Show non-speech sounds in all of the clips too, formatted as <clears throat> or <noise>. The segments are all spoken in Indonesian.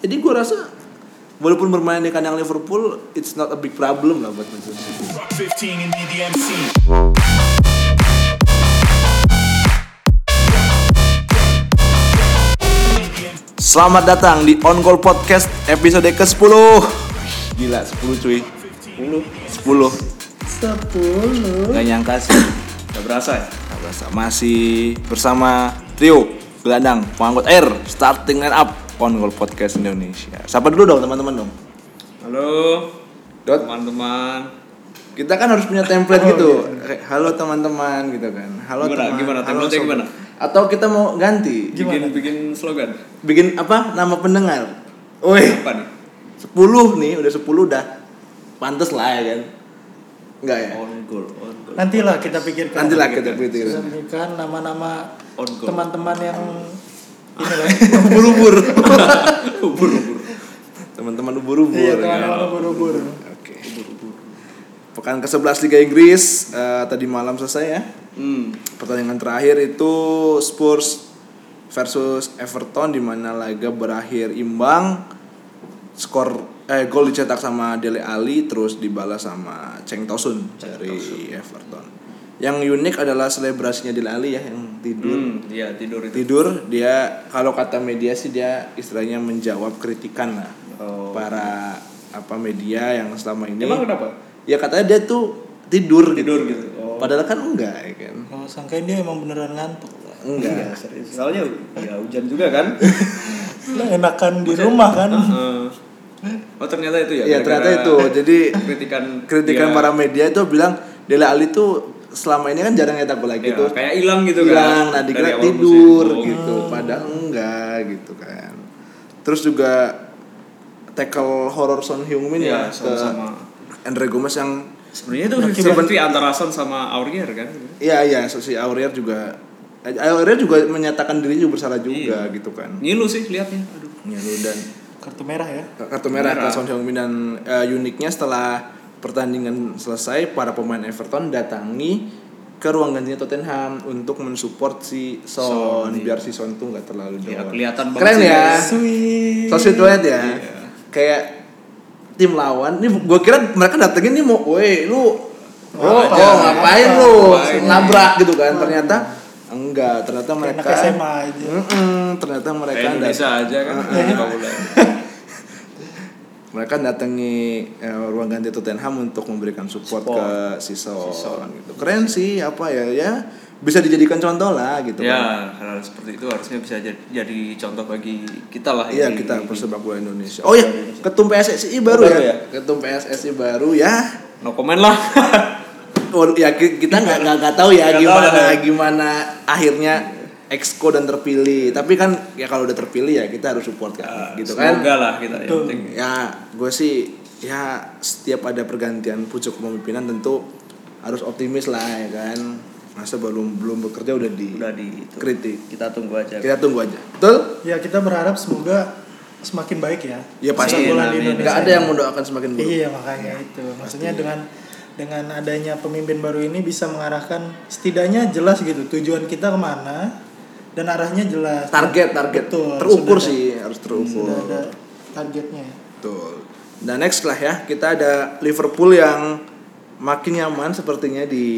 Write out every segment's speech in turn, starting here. Jadi gue rasa walaupun bermain di kandang Liverpool, it's not a big problem lah buat Manchester City. Rock 15 and DDMC. Selamat datang di On Call Podcast episode ke-10 Gila, 10 cuy 10? 10 Sepuluh Gak nyangka sih Gak berasa ya? Gak berasa. Masih bersama trio Gelandang, pengangkut air, starting line up On Call Podcast Indonesia Sapa dulu dong teman-teman dong Halo Dot. teman-teman Kita kan harus punya template gitu Kayak, Halo teman-teman gitu kan Halo Oh, iya. Gimana, teman halo gimana? Template-nya sob- gimana? Atau kita mau ganti bikin bikin slogan Bikin apa? Nama pendengar Wih apa nih? 10 nih, udah 10 udah Pantes lah ya kan Enggak ya? On goal, on goal. Nantilah kita pikirkan Nanti lah kita Iya. gitu. <laughs> Kita pikirkan. pikirkan nama-nama On goal. teman-teman yang ini lah Ubur-ubur. <laughs> Ubur-ubur. Teman-teman ubur-ubur. Iya ya. teman-teman buru-buru Oke. Pekan ke-11 Liga Inggris eh, tadi malam selesai ya. Hmm. Pertandingan terakhir itu Spurs versus Everton di mana laga berakhir imbang. Skor eh gol dicetak sama Dele Alli terus dibalas sama Cheng Tosun dari Everton. Yang unik adalah selebrasinya Dele Alli ya yang tidur. Hmm, iya tidur itu. tidur dia kalau kata media sih dia istilahnya menjawab kritikan lah Oh. para apa media yang selama ini Emang kenapa? ya katanya dia tuh tidur gitu. Tidur gitu. Oh. padahal kan enggak ya kan Kalau sangkain dia emang beneran ngantuk lah. enggak Iya, serius. Soalnya ya hujan juga kan? Lah, enakan di rumah kan Heeh. <laughs> oh ternyata itu ya? ya gara-gara ternyata itu jadi Kritikan kritikan dia- para media itu bilang Dele Ali tuh selama ini kan jarang nyetak bola Iya, gitu kayak hilang gitu hilang kan? nah dikira Dari awal musim. tidur Oh, gitu padahal enggak gitu kan terus juga tackle horror Son Heung-min ya, Iya, ke sama-sama. Andre Gomez yang Sebenarnya itu Seben- 50-50 antara Son sama Aurier kan? iya iya so- si Aurier juga eh, Aurier juga menyatakan dirinya bersalah juga Iya. gitu kan Ngilu sih liatnya. Aduh. ya lu dan Kartu merah ya kartu merah Merah. atas Son Heung-min dan eh, uniknya setelah pertandingan selesai para pemain Everton datangi ke ruang gantinya Tottenham untuk mensupport si Son, biar si Son tuh nggak terlalu down. Iya, kelihatan banget Keren sih, Iya. ya. guys. Sweet So sweet banget ya. Kayak tim lawan, nih gua kira mereka datengin nih mau, "Woi, lu Oh, Apa? oh, ngapain lu? ya, Ngapain? ya?" Nabrak gitu kan. Ternyata enggak, ternyata Anak mereka SMA aja Mm-mm, ternyata mereka Kayak Indonesia dat- aja kan? sepak bola. mereka datangi eh, ruang ganti Tottenham untuk memberikan support, ke Sison, gitu. Keren sih apa ya ya bisa dijadikan contoh lah gitu kan. Ya, hal seperti itu harusnya bisa jadi, jadi contoh bagi kita lah. Iya ini. kita persepak bola Indonesia. Oh ya, ketum PSSI baru, ya, Baru ya. ya? Ketum PSSI baru ya. No comment lah. Waduh, ya ki- kita nggak nggak nggak tahu ya Nggak gimana tahu lah. gimana akhirnya exco dan terpilih. Tapi kan ya kalau udah terpilih ya kita harus support kan, gitu kan. Ah, Semoga lah kita yang Betul. penting. Ya gue sih ya setiap ada pergantian pucuk kepemimpinan tentu harus optimis lah ya kan. Masa belum belum bekerja udah di Udah di itu. kritik. Ya. Kita tunggu aja. Kita tunggu aja. Betul? Ya kita berharap semoga semakin baik ya Ya pasti. Sepak bola di Amin. Indonesia Nggak ada yang mendoakan semakin buruk. Iya makanya itu. Maksudnya dengan dengan adanya pemimpin baru ini bisa mengarahkan setidaknya jelas gitu tujuan kita kemana dan arahnya jelas. target target Betul, terukur sudah sih harus ada- Sudah ada terukur targetnya. ya. betul dan next lah ya kita ada Liverpool yang makin nyaman sepertinya di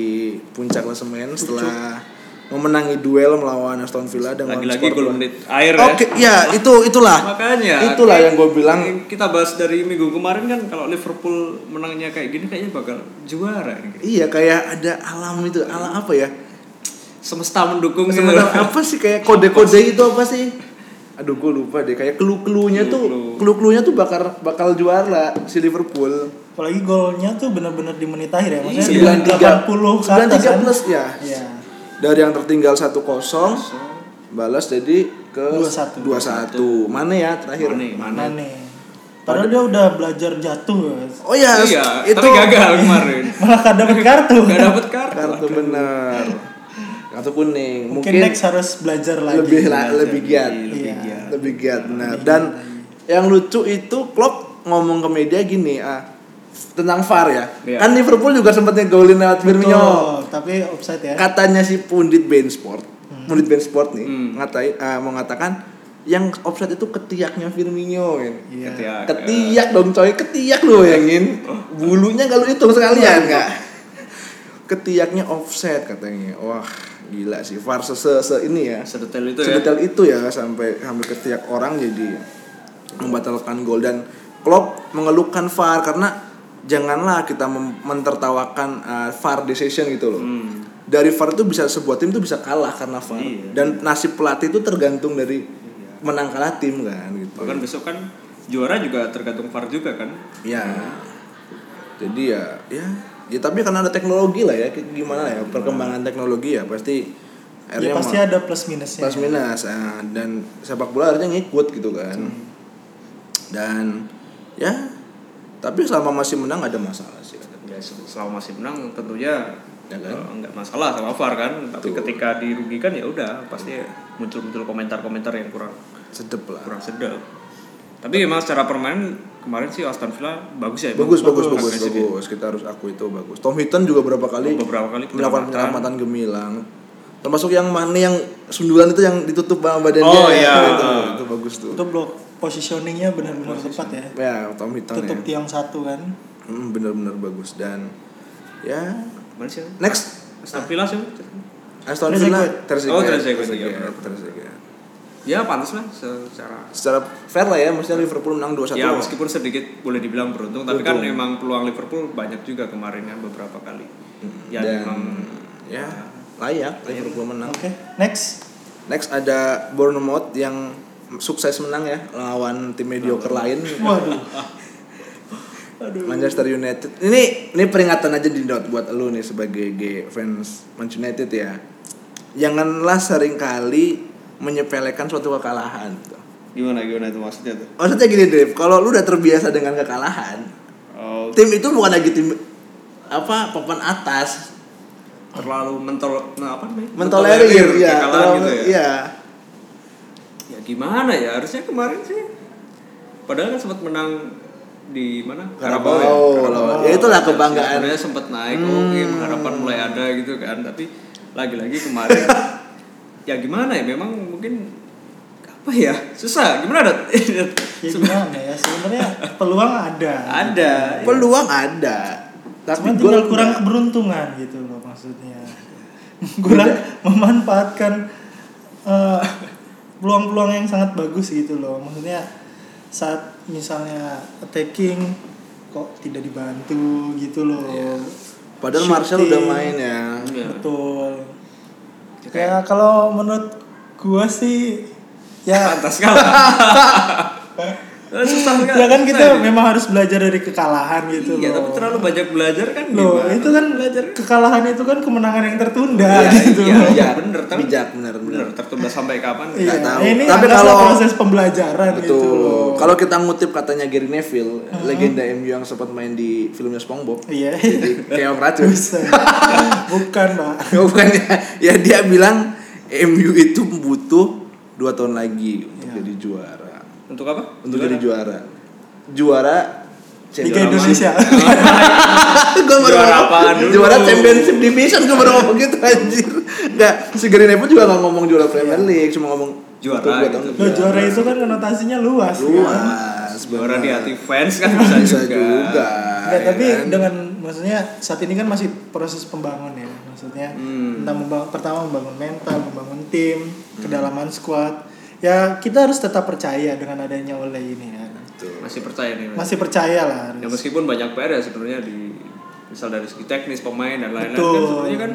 puncak klasemen setelah memenangi duel melawan Aston Villa dengan Lagi-lagi skor gol dua- menit air ya. Oke, ya itu itulah. Makanya. Itulah kayak- yang gue bilang. Kita bahas dari minggu kemarin kan kalau Liverpool menangnya kayak gini kayaknya bakal juara. ini. Iya kayak ada alam itu, alam apa ya? Semesta mendukung gitu. Sebenarnya apa sih kayak kode-kode itu apa sih? Aduh gue lupa deh kayak kelu-kelunya tuh Clue-clue. kelu-kelunya tuh bakal bakal juara si Liverpool. Apalagi golnya tuh benar-benar di menit akhir ya. Maksudnya Iya. 80 ke 93 atas. kan. plus, ya. Iya. dari yang tertinggal 1-0 balas jadi ke 2-1. 21 mana ya terakhir Mane, Mane. Mane. Padahal dia udah belajar jatuh. guys. oh ya Iya, itu tapi gagal kemarin. Malah kadang dapat kartu. Gak dapet kartu. kartu bener kartu kuning <laughs> Mungkin, mungkin, next harus belajar lagi. lebih la- lebih giat Iya. lebih giat benar dan yang lucu itu Klopp ngomong ke media gini ah tentang VAR ya Iya. kan Liverpool juga sempat ngegolin lewat Firmino Betul, tapi offside ya. Hmm. katanya si pundit Ben Sport, pundit Ben Sport nih, ngatain eh, mengatakan yang offside itu ketiaknya Firmino kan. Iya. Ketiak. ya. Oh. Ketiak dong coy, ketiak lo bayangin. Bulunya kalau hitung Iya. sekalian kak. Ketiaknya offset katanya. Wah gila sih. Var se, se- se ini ya. Sedetail itu ya. Sedetail itu ya sampai sampai ketiak orang jadi membatalkan gol dan Klopp mengeluhkan VAR karena janganlah kita mem- mentertawakan uh, VAR decision gitu loh. Hmm. Dari VAR itu bisa sebuah tim itu bisa kalah karena VAR Iya. dan nasib pelatih itu tergantung dari menang kalah tim kan gitu. Bahkan besok kan juara juga tergantung VAR juga kan. Ya. Jadi ya, ya, ya tapi karena ada teknologi lah ya, kayak gimana ya perkembangan teknologi ya pasti ya akhirnya pasti mau- ada plus minusnya Iya, plus minus ah, dan sepak bola akhirnya ngikut gitu kan. Hmm. Dan ya, tapi selama masih menang ada masalah sih. Ya selama masih menang tentunya Ya kan? eh, nggak masalah sama VAR kan. Tapi Betul. ketika dirugikan ya udah pasti muncul-muncul komentar-komentar yang kurang Sedep lah. kurang sedap. Tapi memang secara permainan kemarin sih Aston Villa bagus ya. Bagus bagus bagus bagus, Agresif ya. Kita harus aku itu bagus. Tom Hinton juga berapa kali Beberapa kali melakukan penyelamatan. penyelamatan gemilang. Termasuk yang mana yang sundulan itu yang ditutup sama badannya. Oh, ya, iya. Itu, itu bagus tuh. itu blok positioningnya benar-benar tepat ya Ya, Tom Hinton tutup ya. tiang satu kan Hmm, bener-bener bagus dan ya Mana sih? next Aston Villa sih. Aston Villa Trezeguet. Oh, Trezeguet, Trezeguet, iya, benar. Trezeguet. Ya pantas lah secara Secara fair lah ya, maksudnya Liverpool menang 2-1. Ya meskipun sedikit boleh dibilang beruntung, tapi kan Beruntung. memang peluang Liverpool banyak juga kemarin kan beberapa kali. Ya Hmm. dan memang ya layak Liverpool menang. oke next Next ada Bournemouth yang sukses menang ya lawan tim mediocre lain. waduh aduh <laughs> Manchester United. Ini ini peringatan aja di dot buat lu nih sebagai gay fans Manchester United ya. Janganlah seringkali menyepelekan suatu kekalahan. gimana gimana itu maksudnya tuh? Maksudnya gini Dave, kalau lu udah terbiasa dengan kekalahan, Oh, tim itu bukan lagi tim apa papan atas, terlalu mentol nah, apa namanya? mentolerir iya, ya, kekalahan terlalu- gitu ya. iya. Ya gimana ya? Harusnya kemarin sih. Padahal kan sempat menang di mana? Karabau, ya. lawan- ya itulah Ya, kebanggaan. Sebenarnya sempat naik, oh, oke Hmm. harapan mulai ada gitu kan. Tapi lagi-lagi kemarin <laughs> ya gimana ya? Memang mungkin apa ya? Susah. Gimana dat? ya gimana ya <laughs> sebenarnya peluang ada <laughs> ada. ya. Peluang ada. Tapi Cuman gol tinggal kurang enggak. keberuntungan gitu loh maksudnya <laughs> kurang memanfaatkan eh, peluang-peluang yang sangat bagus gitu loh maksudnya saat misalnya attacking kok tidak dibantu gitu loh Iya. Padahal Martial Shooting. udah main ya. Iya. betul Ya, kayak- ya kalau menurut gua sih ya <laughs> pantas kalah. Susah sekali. ya kan susah kita ini. memang harus belajar dari kekalahan gitu Nah, Iya, loh tapi terlalu banyak belajar kan Loh, gimana? itu kan kekalahan itu kan kemenangan yang tertunda Iya, gitu. iya, Iya, iya, bener, tapi- bijak bener bener. Iya. bener tertunda sampai kapan? Nggak tahu. Nah, Ini Tapi tapi kalau- proses pembelajaran Betul. gitu loh. Kalau kita ngutip katanya Gary Neville, legenda MU yang sempat main di filmnya SpongeBob, <laughs> iya. jadi Keong Racun. <laughs> Bisa. Bukan, Pak. Bukan ya. Ya dia bilang MU itu butuh dua tahun lagi untuk Iya. jadi juara. Untuk apa? Untuk jadi juara. Juara Liga Champions- Indonesia. Iya. <laughs> Gua baru Juara ngomong, apaan dulu? Juara Championship Division gue baru ngomong gitu anjir. Enggak, si Gary Neville juga gak ngomong juara Premier League, cuma ngomong Juara butuh dua gitu. tahun Loh, lagi. juara itu kan konotasinya luas. Kan? Luas, Juara di benar. hati fans kan bisa, Iya, bisa juga. juga. Nggak, ya tapi kan? dengan maksudnya saat ini kan masih proses pembangun ya. Maksudnya Hmm. entah membangun, pertama membangun mental, membangun tim, Hmm. kedalaman squad. Ya kita harus tetap percaya dengan adanya oleh ini kan. Tuh. Masih percaya nih. Mas. Masih percaya lah. harus. Ya meskipun banyak PR ya sebenarnya di misal dari segi teknis pemain dan lain-lain kan Betul. sebenarnya kan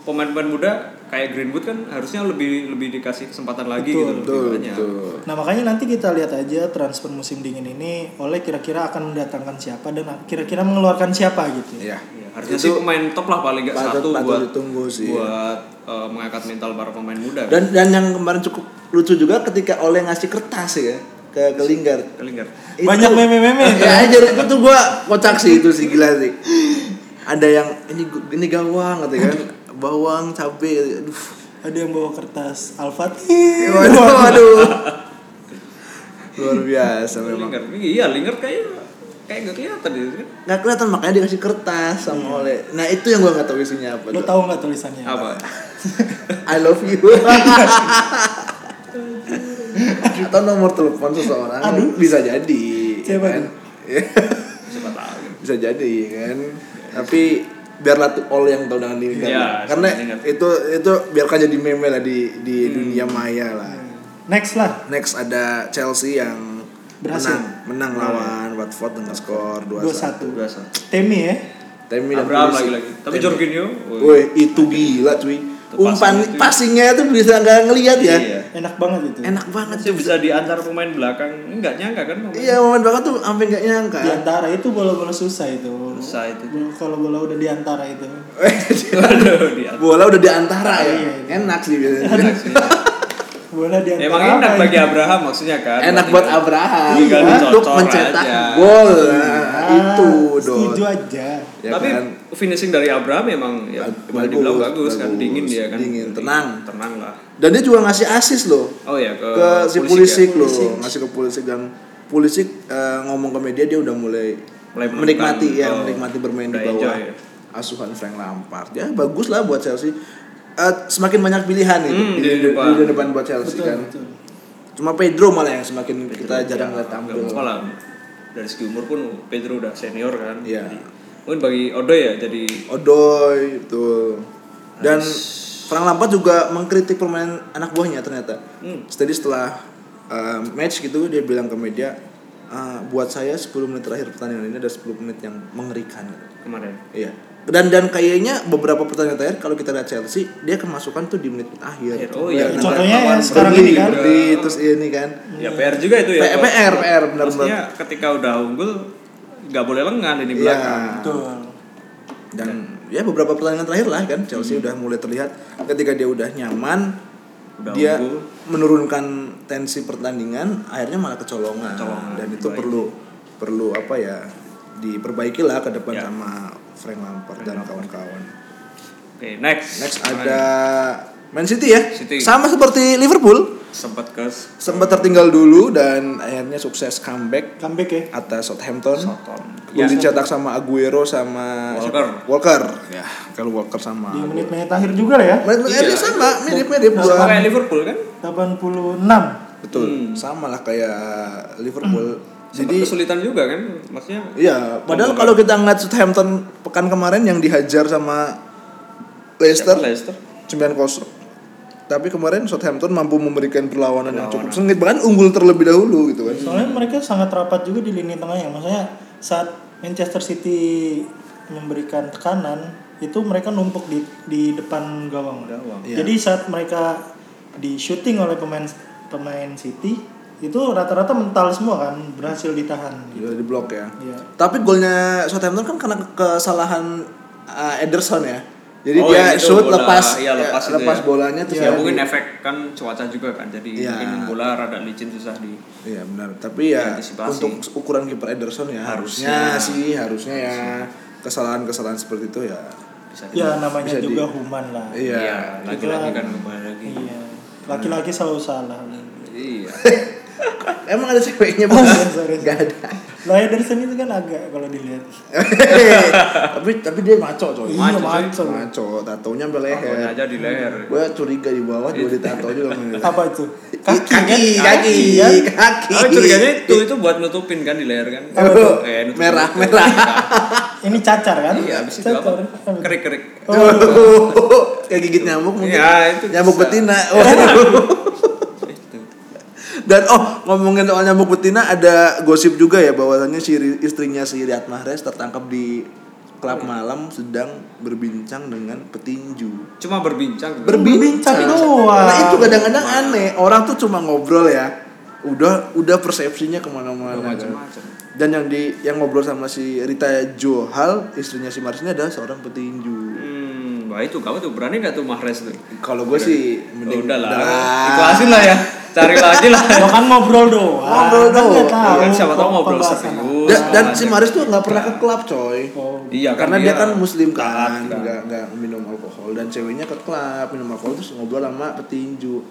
pemain-pemain muda kayak Greenwood kan harusnya lebih lebih dikasih kesempatan lagi Betul, gitu lebih Betul, banyak. betul. Nah makanya nanti kita lihat aja transfer musim dingin ini oleh kira-kira akan mendatangkan siapa dan kira-kira mengeluarkan siapa gitu. Ya. Ya, harusnya sih pemain top lah paling nggak patut- satu patut buat ditunggu sih. buat eh, mengangkat mental para pemain muda. Dan dan yang kemarin cukup lucu juga ketika oleh ngasih kertas ya ke ke Lingard. Kali nggak? Itu- Banyak meme-meme itu. Ya aja itu tuh gua kocak sih itu sih gila sih. Ada yang ini gu- ini gawang gitu kan. Bawang, cabe. kan. Aduh. <laughs> Ada yang bawa kertas Al-Fatih. Waduh, waduh. Luar biasa memang. Lingard, iya Lingard kayak kayak nggak kelihatan ya. kan? Nggak kelihatan makanya dikasih kertas sama oleh. Nah, itu yang gua nggak tahu isinya apa. Lo tuh. tahu nggak Iya. tulisannya? Apa? I love you. atau nomor telepon seseorang Aduh. bisa jadi Siapa kan? tuh? Siapa tahu. bisa jadi kan tapi biarlah tuh all yang tahu dengan diri kan Iya, karena sebenarnya. itu itu biarkan jadi meme lah di di Hmm. dunia maya lah Next lah. next ada Chelsea yang Berhasil. menang menang lawan Watford dengan skor 2-1 2-1. Biasa. Temi ya. Temi dan Abraham Pulisic. lagi-lagi. Tapi Temi. Jorginho, woi. woi itu gila cuy umpan passing itu. passingnya itu bisa nggak ngelihat ya Iya. Enak banget itu. enak banget Itu cuy bisa diantar pemain belakang. Enggak nyangka kan pemain. iya momen banget tuh sampai nggak nyangka Di Iya. antara itu bola-bola susah itu. Susah itu. Bola- Kalau bola udah di antara itu. Waduh, dia. bola udah di antara ya Iya, iya. enak <laughs> sih biasanya <laughs> Bola di antara. Emang enak apa bagi itu? Abraham maksudnya kan. enak Berarti buat kan. Abraham Tinggal untuk dicocok mencetak aja. gol Nah, Ah, itu dot Setuju aja. ya Tapi kan finishing dari Abraham memang ya Bagus, boleh dibilang bagus, kan bagus. dingin dia kan. Dingin, tenang. Tenang lah. dan dia juga ngasih asis loh Oh ya ke, ke si polisi Pulisic loh ngasih ke Pulisic dan Pulisic eh, ngomong ke media dia udah mulai, Mulai menemukan, menikmati ya oh, menikmati bermain di udah bawah enjoy ya. asuhan Frank Lampard ya bagus lah buat Chelsea Eh, semakin banyak pilihan itu Hmm, di, di di- di depan. depan. buat Chelsea Betul, kan betul. cuma Pedro malah yang semakin kita jarang lihat lihat tampil apa lah. Dari segi umur pun Pedro udah senior kan. Iya. Jadi, mungkin bagi Odoi ya jadi Odoy betul dan Harus- Frank Lampard juga mengkritik permainan anak buahnya ternyata Hmm. jadi setelah uh, match gitu dia bilang ke media "Ah, buat saya 10 menit terakhir pertandingan ini ada 10 menit yang mengerikan kemarin. iya dan dan kayaknya beberapa pertandingan terakhir kalau kita lihat Chelsea dia kemasukan tuh di menit akhir Nah, Akhir, oh iya. Benar. Contohnya Lawan yang sekarang Burnley, ini kan. Burnley, terus ini kan Ya PR juga itu ya. P- PR PR benar Maksudnya ketika udah unggul nggak boleh lengan ini Iya. belakang. Betul. dan ya beberapa pertandingan terakhir lah kan Chelsea Hmm. udah mulai terlihat ketika dia udah nyaman Udah dia unggul. menurunkan tensi pertandingan akhirnya malah kecolongan, Kecolongan, dan itu diperbaiki. perlu perlu apa ya diperbaiki lah ke depan Ya. sama Frank Lampard dan kawan-kawan Oke, next. next ada Man City ya City. sama seperti Liverpool sempat ke sempat tertinggal dulu dan akhirnya sukses comeback Comeback ya. atas Southampton Soton. Gol dicetak sama Aguero sama Ya. Walker. Walker. Ya, kalau Walker sama. Di menit-menit akhir juga lah ya. Menit-menit Iya. akhir sama, mirip-mirip Sama gua. kayak Liverpool kan? 86. Betul. Hmm. Sama lah kayak Liverpool. Jadi Jadi kesulitan juga kan, maksudnya. iya, padahal kalau kita ngeliat Southampton pekan kemarin yang dihajar sama Leicester Siapa? ya, Leicester. 9-0. Tapi kemarin Southampton mampu memberikan perlawanan yang cukup Perlawanan. sengit bahkan unggul terlebih dahulu gitu kan. Soalnya mereka sangat rapat juga di lini tengah ya. Maksudnya saat Manchester City memberikan tekanan itu mereka numpuk di di depan gawang. Gawang. Iya. Jadi saat mereka di shooting oleh pemain pemain City itu rata-rata mental semua kan berhasil ditahan. Gitu. Udah di blok ya. Iya. Tapi golnya Southampton kan karena ke- kesalahan uh, Ederson ya. Jadi Oh, dia iya, itu shoot bola. lepas Iya, lepas itu ya. bolanya terus Ya jadi- mungkin efek kan cuaca juga kan, jadi Iya. mungkin bola rada licin susah di. Iya benar. Tapi ya Antisipasi. untuk ukuran kiper Ederson ya Harusnya. harusnya, sih harusnya ya kesalahan-kesalahan seperti itu ya. Bisa di- Ya namanya Bisa di- juga human lah. Iya. Iya, lagi-lagi kan kembali lagi. Iya. Laki-laki selalu salah. Iya. Eh, Emang ada ceweknya bang? sorry, sorry. Gak ada. Lah Ederson itu kan agak kalau dilihat. tapi tapi dia Eh, maco coy. Maco, Iya, cuy. maco. Maco, tatonya sampai leher. Pokoknya aja di leher. Gue curiga di bawah juga ditato juga. Apa itu? kaki, kan? kaki, kan? kaki, kaki. Oh, curiganya itu itu buat nutupin kan di leher kan? Oh, Eh, nutupin. merah, merah. Ini cacar kan? Iya, abis itu cacar. apa? Kerik-kerik. Oh, kayak gigit nyamuk mungkin. Iya, itu nyamuk bisa. <laughs> betina. Waduh. Dan oh ngomongin soal nyamuk betina ada gosip juga ya bahwasannya si ri- istrinya si Riyad Mahrez tertangkap di klub malam sedang berbincang dengan petinju. Cuma berbincang. Berbincang doang. Nah itu kadang-kadang aneh. Orang tuh cuma ngobrol ya. Udah udah persepsinya Udah kemana-mana. kan. macam-macam. Dan yang di yang ngobrol sama si Rita Johal istrinya si Mahrez ini adalah seorang petinju. Hmm, wah itu kamu tuh berani gak tuh Mahrez tuh? Kalau gue sih Oh, mending udah lah, Udah. ikhlasin lah ya, cari lagi <laughs> lah. Lo kan ngobrol doang. Ngobrol Kan nggak doang. tahu Kan siapa tahu ngobrol pembahasan serius. Da- dan si Maris tuh nggak pernah ke klub coy. apa. Oh, Iya, karena dia, kan muslim taat kan, nggak nggak minum alkohol dan ceweknya ke klub minum alkohol terus ngobrol sama petinju.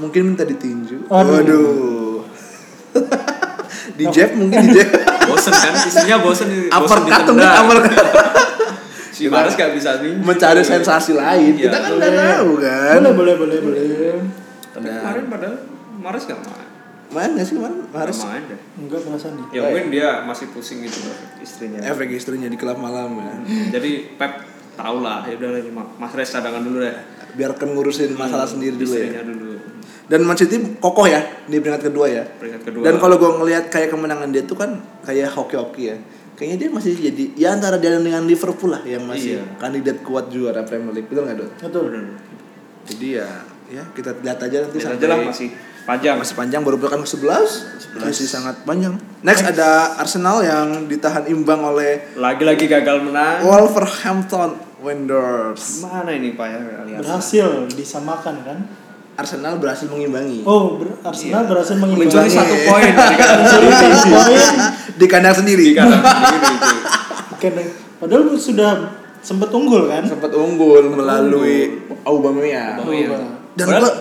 Mungkin minta ditinju. Aduh. Waduh. <laughs> di jab mungkin di jab. <laughs> Bosen kan, isinya bosen. bosen Uppercut tuh ditendang. mungkin uppercut. Si Mahrez gak bisa nih. Mencari sensasi lain. Iya. Kita kan nggak tahu kan. Boleh, boleh, boleh, boleh. Nah. Tapi kemarin padahal Mahrez gak main. main nggak sih kemarin harus Sama aja. Enggak perasaan nih. Oh, iya. Ya mungkin dia masih pusing gitu Bro, istrinya. efek istrinya di klub malam ya Jadi Pep tau lah, ya udah ini Mas Res cadangan dulu deh. biarkan kan ngurusin masalah sendiri dulu ya Istrinya dulu. dan Man City kokoh ya di peringkat kedua ya Peringkat kedua. dan kalau gue ngelihat kayak kemenangan dia tuh kan kayak hoki-hoki ya kayaknya dia masih jadi ya antara dia dengan Liverpool lah yang masih Iya. kandidat kuat juara Premier League betul nggak Dot? Betul. jadi ya ya kita lihat aja nanti Lihat sampai aja lah masih panjang. masih panjang baru pekan ke 11 masih sangat panjang next ada Arsenal yang ditahan imbang oleh Lagi-lagi gagal menang. Wolverhampton Wanderers Mana ini Pak ya? Alias? Berhasil disamakan kan? Arsenal berhasil mengimbangi Oh, ber- Arsenal berhasil Mencuri mengimbangi. satu poin dari kata <laughs> Mencuri satu poin. iya. <laughs> di kandang sendiri tiga lah. Gitu, gitu. Karena padahal sudah sempat unggul kan? sempat unggul melalui Aubameyang Oh iya. Dan Padahal gua-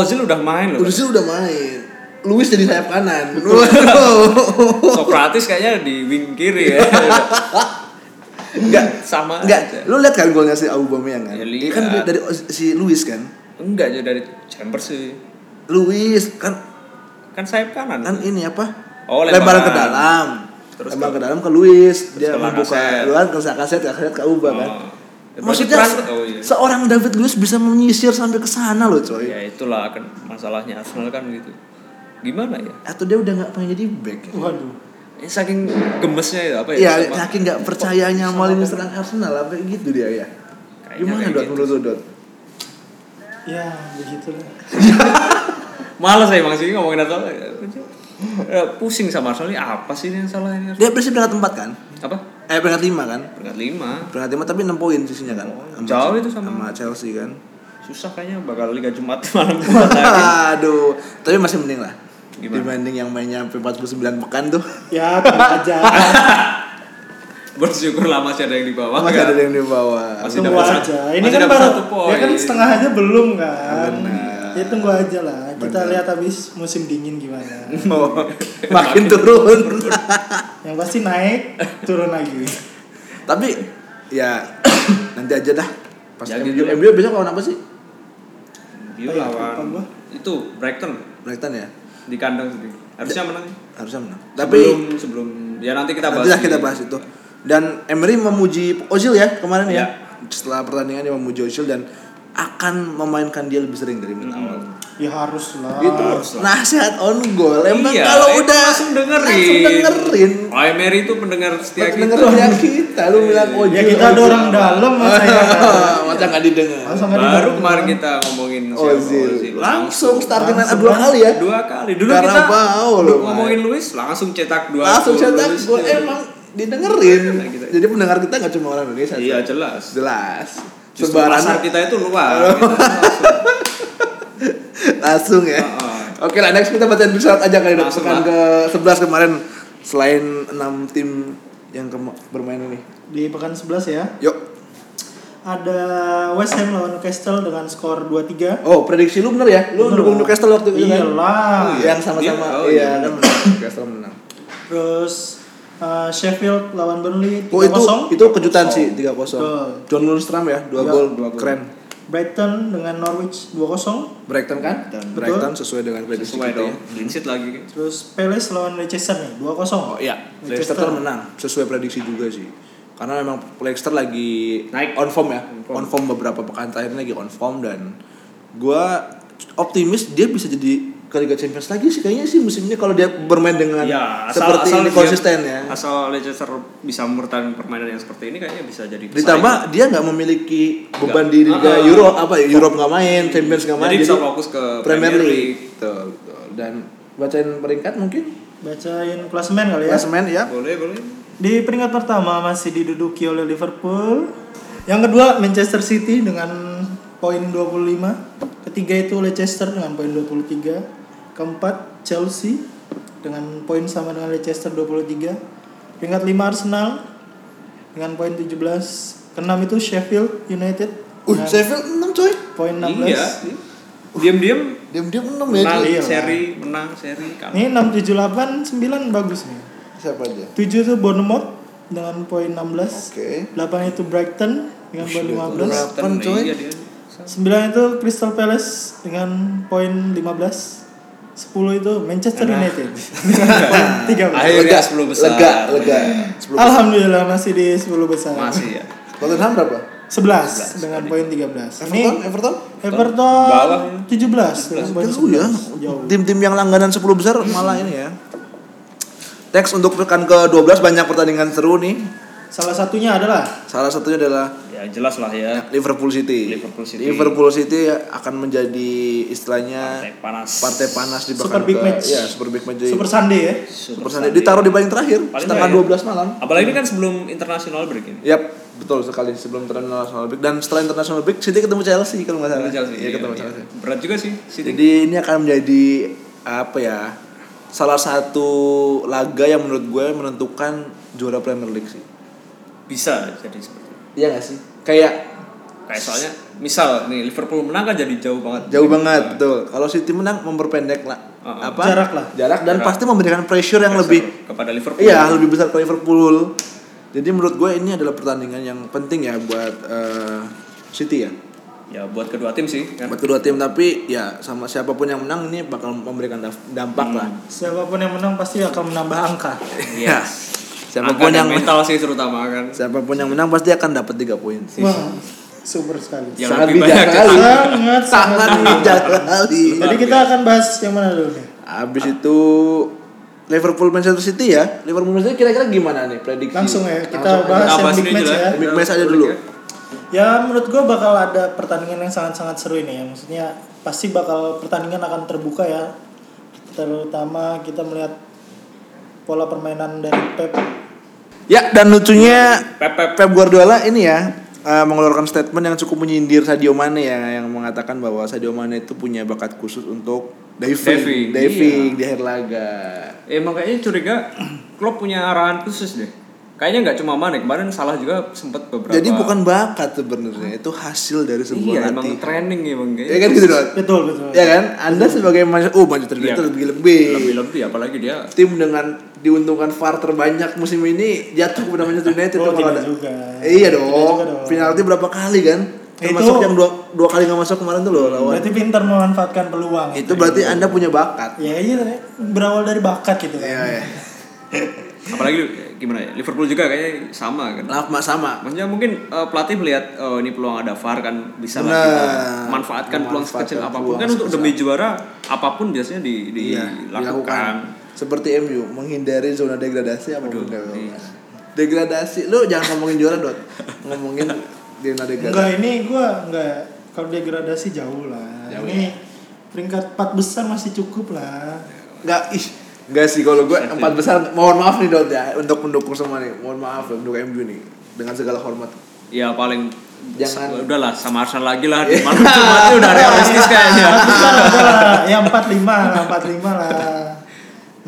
Ozil udah main loh. Luis udah main Luis jadi sayap <laughs> kanan Sokratis kayaknya di wing <laughs> kiri ya. Enggak Sama aja. Enggak, lu lihat kan golnya si Aubameyang kan? Ya, Dia kan lihat. dari si Luis kan. Enggak aja dari Chambers sih. Luis kan Kan sayap kanan. kan ini apa? Oh, lemparan lemparan. ke dalam. Terus Terus lempar ke- ke dalam ke Luis, dia ke membuka Lacazette. luar ke Lacazette, Lacazette ke Auba Oh. kan. Ya, berarti Maksudnya peran- se- oh, iya. seorang David Luiz bisa menyisir sampai ke sana loh, coy. Ya itulah kan masalahnya Arsenal kan gitu. Gimana ya? Atau dia udah nggak pengen jadi back. ya? Waduh. Eh, saking gemesnya itu apa ya? Ya, Apa- saking nggak percayanya sama lini serang Arsenal apa gitu dia ya. Kayaknya Gimana kayak dot gitu. menurut lu dot? Ya, begitulah. Males saya Bang sih ngomongin Arsenal. Ya, Eh, Pusing sama Arsenal ini apa sih ini yang salah ini? Arsenal? Dia berarti peringkat 4 kan? Apa? Eh peringkat 5 kan? Peringkat 5. Peringkat 5 tapi 6 poin sisinya kan. Sama jauh Chel- itu sama- sama Chelsea kan. Susah kayaknya bakal Liga Jumat <laughs> malam Jumat lagi. <laughs> Aduh, tapi masih mending lah. Gimana? Dibanding yang mainnya sampai 49 pekan tuh. Ya, tenang aja. Bersyukurlah masih ada yang di bawah. Masih kan? ada yang di bawah. Masih tunggu dapat satu- aja. Ini masih kan dapat baru satu poin. ya kan setengah aja belum kan. Benar. Ya tunggu aja lah. Kita Benar. lihat habis musim dingin gimana. <laughs> Oh, makin turun. <laughs> Yang pasti naik, turun lagi. tapi ya <coughs> nanti aja dah. Pas Ya, MU, gitu lah. MU besok lawan apa sih? Apa Dia ya, lupa lawan gua. itu Brighton Brighton ya. di kandang sendiri. Harusnya menang. Harusnya menang. Tapi sebelum, sebelum ya nanti kita bahas. nanti lah di- kita bahas itu. Dan Emery memuji Ozil ya kemarin ya. Ya. Setelah pertandingan dia memuji Ozil dan akan memainkan dia lebih sering Hmm. dari menit awal. Ya harus lah. gitu nasihat on goal emang Iya, kalau itu udah langsung dengerin. Ya, gitu. langsung dengerin Oh, Emery itu pendengar setia Pas kita. denger dia kita lu bilang oh Ya kita ada orang dalam masa ya. <laughs> masa nggak didengar Masa nggak Baru dibangun? kemarin kita ngomongin Oh, siapa, Ozil langsung starting line up dua Langsung. kali ya dua kali. Dulu kita Carabao loh, Mai. ngomongin Luis langsung cetak dua langsung gol cetak Luis. gol emang didengerin Nah, kita- jadi pendengar kita nggak cuma orang Indonesia Iya sih. jelas. jelas Justru pasar sebaran kita <laughs> itu luar. Kita langsung- langsung ya Heeh. oke lah next kita bacain besok aja kali dok Ah, Langsung pekan lah. ke 11 kemarin selain 6 tim yang kema- bermain ini Di pekan 11 ya. yuk Ada West Ham lawan Newcastle dengan skor 2-3. Oh, prediksi lu bener ya? Lu Bener dukung lah. Newcastle waktu itu kan? Iyalah. Oh, iya. Yang sama-sama Iya, oh, iya, iya, kan menang. Newcastle menang. Terus uh, Sheffield lawan Burnley Oh, 3-0. itu itu kejutan sih 3-0. Betul. John Lundstram ya, 2 Iya, gol, dua gol. keren. Brighton dengan Norwich 2-0. Brighton kan? Betul. Brighton sesuai dengan prediksi kita Sesuai dong. ya. Clean sheet lagi. Terus Palace lawan Leicester nih 2-0. Oh iya, Leicester menang sesuai prediksi juga sih. Karena memang Leicester lagi Naik. on form ya. On form beberapa pekan terakhir lagi on form dan gua optimis dia bisa jadi ke Liga Champions lagi sih kayaknya sih musim ini kalau dia bermain dengan Ya, asal, seperti asal ini dia- konsisten ya. Asal Leicester bisa mempertahankan permainan yang seperti ini kayaknya bisa jadi pesaing. ditambah dia nggak memiliki beban di Nggak. Liga Ah. Europe apa ya Europe nggak main Champions nggak main Jadi bisa fokus ke Premier Premier League, League. Betul, betul. dan bacain peringkat mungkin Bacain klasemen kali ya. klasemen ya boleh boleh. Di peringkat pertama masih diduduki oleh Liverpool. Yang kedua Manchester City dengan poin 25. Ketiga itu Leicester dengan poin 23. Keempat Chelsea dengan poin sama dengan Leicester 23. Peringkat 5 Arsenal dengan poin 17. Keenam itu Sheffield United uh dengan Sheffield enam coy poin 16. Iya. Diam-diam diam diam enam ya menang coy. iya. seri, menang seri kalah. Iya, Ini 6 7 8 9 bagus nih. siapa aja 7 itu Bournemouth dengan poin 16. oke 8 itu Brighton dengan poin 15. Delapan, coy. Iya, dia. 9 itu Crystal Palace dengan poin 15. 10 itu Manchester Nah. United. Tiga belas. Akhirnya 10 besar. Lega, lega. 10 besar. Alhamdulillah masih di 10 besar. Masih ya. Tottenham berapa? 11 dengan poin 13. Ini Everton, Everton? Everton Bawah. 17 dengan poin Jauh ya. 11. Jauh. Tim-tim yang langganan 10 besar malah ini ya. Teks untuk pekan ke-12 banyak pertandingan seru nih. Salah satunya adalah Salah satunya adalah Ya jelas lah ya. Liverpool City. Liverpool City. Liverpool City akan menjadi istilahnya Partai panas. partai panas di Super pekan big ke- match. Ya, super big match. Super Sunday ya. Super Sunday. Ditaruh di paling terakhir, Paling setengah terakhir. 12 malam. Apalagi ini kan sebelum international break ini. Yap, betul sekali sebelum international break dan setelah international break City ketemu Chelsea kalau nggak salah. Ketemu Chelsea, Iya, iya, ketemu iya. Chelsea. Berat juga sih City. Jadi ini akan menjadi apa ya? Salah satu laga yang menurut gue menentukan juara Premier League sih. bisa jadi seperti itu. Iya gak sih? Kayak Kayak soalnya misal nih Liverpool menang kan jadi jauh banget. jauh banget betul. Kalau City menang memperpendek lah Uh-uh. apa? Jarak lah. Jarak dan Jarak. pasti memberikan pressure yang Pressure lebih kepada Liverpool. iya, lebih besar ke Liverpool. Jadi menurut gue ini adalah pertandingan yang penting ya buat eh, City ya. Ya buat kedua tim sih kan. Buat kedua tim tapi ya sama siapapun yang menang ini bakal memberikan daf- dampak lah. Siapapun yang menang pasti akan menambah angka. Iya. Angka siapapun dan yang mental sih terutama kan. <laughs> siapapun yang menang pasti akan dapat 3 poin. Wah, super sekali. Yang Sangat lebih bijak banyak sekali. Sangat <laughs> Sangat bijak sekali. Jadi kita akan bahas yang mana dulu nih? Habis itu Liverpool Manchester City ya. Liverpool Manchester City kira-kira gimana nih prediksi? Langsung ya, kita Langsung aja. bahas Kita yang bahas big ini match aja lah. ya. Big match aja dulu. Ya menurut gue bakal ada pertandingan yang sangat-sangat seru ini ya Maksudnya pasti bakal pertandingan akan terbuka ya Terutama kita melihat pola permainan dari Pep Ya dan lucunya Pep, Pep. Pep Guardiola ini ya eh, mengeluarkan statement yang cukup menyindir Sadio Mane ya yang mengatakan bahwa Sadio Mane itu punya bakat khusus untuk diving, iya. Diving, diving di akhir laga. Eh makanya curiga Klopp punya arahan khusus deh. Kayaknya nggak cuma Mane kemarin salah juga sempat beberapa. Jadi bukan bakat sebenarnya, itu hasil dari sebuah iya emang latihan. training emang Ya kayaknya. kan <laughs> gitu Dot? Betul betul Ya kan? Anda sebagai Manchester oh Manchester Iya. United lebih-lebih. Lebih-lebih apalagi dia tim dengan diuntungkan VAR terbanyak musim ini jatuh kepada Manchester United Oh, Kalau tidak ada- juga. Iya Tidak dong. juga dong. Penalti berapa kali kan? Itu- Termasuk yang dua, dua kali nggak masuk kemarin tuh loh lawan. Berarti pintar memanfaatkan peluang itu berarti Anda punya bakat. Ya iya ya. berawal dari bakat gitu kan Iya, iya. apalagi eh, gimana ya Liverpool juga kayaknya sama kan. Lama sama. Maksudnya mungkin eh, pelatih melihat oh, ini peluang ada VAR kan bisa lah Benar. kita manfaatkan peluang Memanfaatkan sekecil apapun peluang kan untuk sekecil Iya, demi juara apapun biasanya di, di- Iya, dilakukan. Seperti MU menghindari zona degradasi apa enggak? iya. Degradasi. Lu jangan ngomongin juara, Dot. Ngomongin zona degradasi. Enggak ini gue enggak Kalau degradasi jauh lah Jauh Ini ya. peringkat 4 besar masih cukup lah Enggak, ih. Enggak sih kalau gue empat besar mohon maaf nih Dot ya untuk pendukung semua nih. Mohon maaf ya, pendukung MU nih dengan segala hormat. Ya paling Ya, Jangan. udahlah sama Arsenal lagi <laughs> lah di malam Jumatnya udah realistis <laughs> kayaknya. Empat besar aja lah Ya 45 lah 45 lah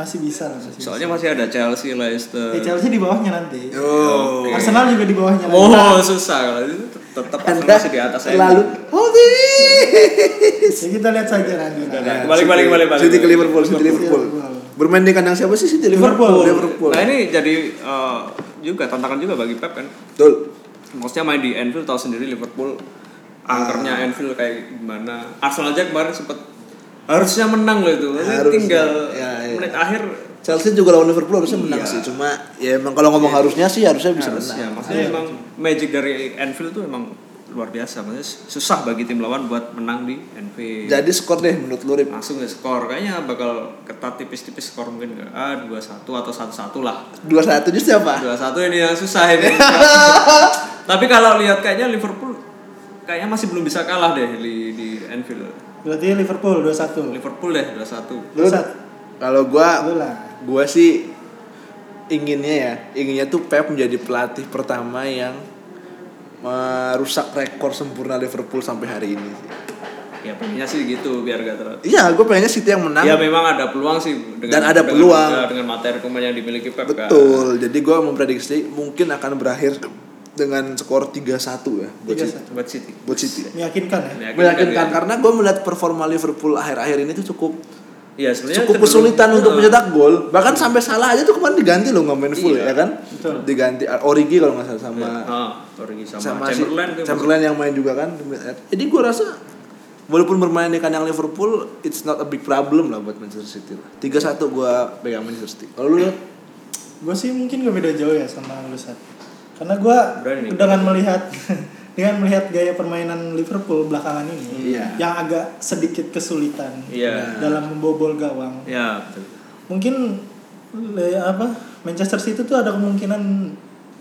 Masih bisa lah masih bisa. Soalnya masih ada Chelsea, Eh, Leicester. Ya Chelsea di bawahnya nanti. Yo. Oke. Arsenal juga di bawahnya nanti. Oh, susah kalau itu tetap Arsenal masih di atas MU. Lalu, hobi. Ya kita lihat saja nanti. Nah, kembali, kembali, kembali, kembali. City ke Liverpool, City Liverpool. Liverpool. Bermain di kandang siapa sih City Liverpool? Liverpool. Nah, ini jadi eh, juga tantangan juga bagi Pep kan. Betul. Maksudnya main di Anfield tahu sendiri Liverpool Ah. angkernya Anfield kayak gimana. Arsenal aja kemarin sempat harusnya menang loh itu. Maksudnya Harusnya. tinggal Ya, ya. menit akhir Chelsea juga lawan Liverpool harusnya menang Iya. sih. Cuma ya emang kalau ngomong harusnya sih harusnya bisa harusnya. menang. Ya, Maksudnya emang magic dari Anfield tuh emang luar biasa. Maksudnya susah bagi tim lawan buat menang di Anfield. Jadi skor deh menurut lu Rip. langsung ya skor kayaknya bakal ketat tipis-tipis skor mungkin ke ah dua satu atau satu satu lah 2-1 justru apa? dua satu ini yang susah ini <laughs> tapi kalau lihat kayaknya Liverpool kayaknya masih belum bisa kalah deh di di Anfield Berarti Liverpool 2-1. Liverpool deh dua satu Lu- Sat. Kalau gua Lu lah. gue sih inginnya ya inginnya tuh Pep menjadi pelatih pertama yang merusak rekor sempurna Liverpool sampai hari ini sih. ya pengennya sih gitu biar gak terlalu Iya, gue pengennya City yang menang. ya memang ada peluang sih Dan ada peluang. dengan materi pemain yang dimiliki Pep kan. Betul. Jadi gue memprediksi mungkin akan berakhir dengan skor 3-1 ya buat City. 3-1. buat City Buat City. Meyakinkan ya. Meyakinkan Meyakinkan ya. karena gue melihat performa Liverpool akhir-akhir ini tuh cukup ya sebenarnya cukup cenderung- kesulitan untuk Eh, mencetak gol. Bahkan sampai salah aja tuh kemarin diganti loh nggak main full ya Iya. kan? Betul. Diganti Origi kalau nggak salah sama ah, Origi sama, sama, si- Chamberlain tuh Chamberlain yang main juga kan. Jadi gue rasa walaupun bermain di kandang Liverpool it's not a big problem lah buat Manchester City lah. 3-1 gua pegang Manchester City. Kalau lu Lut? gue sih mungkin gak beda jauh ya sama lu Sat. karena gue Berani nih. dengan melihat <laughs> dengan melihat gaya permainan Liverpool belakangan ini Iya. yang agak sedikit kesulitan Iya. dalam membobol gawang Ya, betul. mungkin le- apa Manchester City tuh ada kemungkinan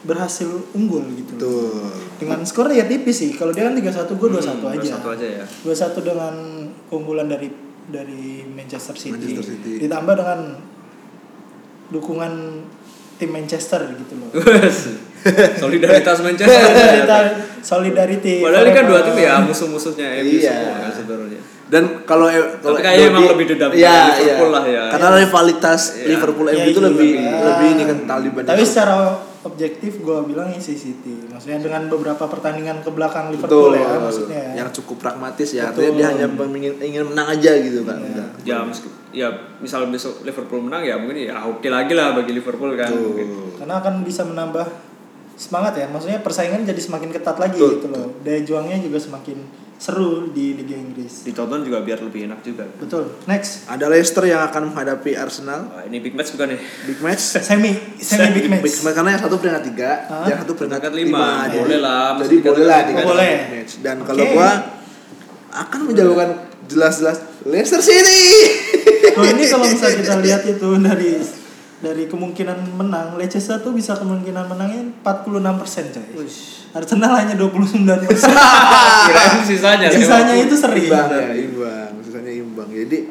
berhasil unggul gitu Tuh. dengan skor ya tipis sih kalau dia kan 3-1 gue 2-1 Hmm, aja 2-1 aja ya. 2-1 dengan keunggulan dari dari Manchester City. Manchester City. ditambah dengan dukungan tim Manchester gitu loh <laughs> Solidaritas <laughs> <laughs> Manchester. Solidari- solidarity Padahal ini kan dua tim forever. ya musuh-musuhnya MU Iya. semua kan sebenarnya. Dan kalau e- kalau kayaknya emang Dodi- lebih dendam ke Iya, Liverpool iya. lah ya. Karena rivalitas Iya. Liverpool Ya, MU itu iya. lebih Ya. lebih ini kan kental dibanding tapi secara objektif gue bilang ini sih City maksudnya dengan beberapa pertandingan ke belakang betul Liverpool ya maksudnya ya. yang cukup pragmatis ya Betul. Iya. artinya dia hanya ingin ingin menang aja gitu kan udah. Ya, meski- ya misal besok Liverpool menang ya mungkin ya oke lagi lah bagi Liverpool kan. Mungkin. karena akan bisa menambah semangat ya maksudnya persaingan jadi semakin ketat lagi Betul, gitu loh daya juangnya juga semakin seru di Liga Inggris Di Tottenham juga biar lebih enak juga. betul next ada Leicester yang akan menghadapi Arsenal Wah, ini big match bukan ya? nih? big match semi semi big match karena yang satu peringkat tiga Hah? yang satu peringkat Peringkat lima. lima jadi- Boleh lah, jadi masih boleh lah dikatakan dikatakan boleh. big match dan kalau Oke. gua akan menjagokan jelas-jelas Leicester City Kalau ini kalau bisa kita lihat itu dari dari kemungkinan menang Leicester tuh bisa kemungkinan menangnya 46 persen coy Arsenal hanya 29 persen <laughs> Ah. <laughs> Kirain sisanya. sisanya lewat. itu sering imbang ya imbang sisanya imbang jadi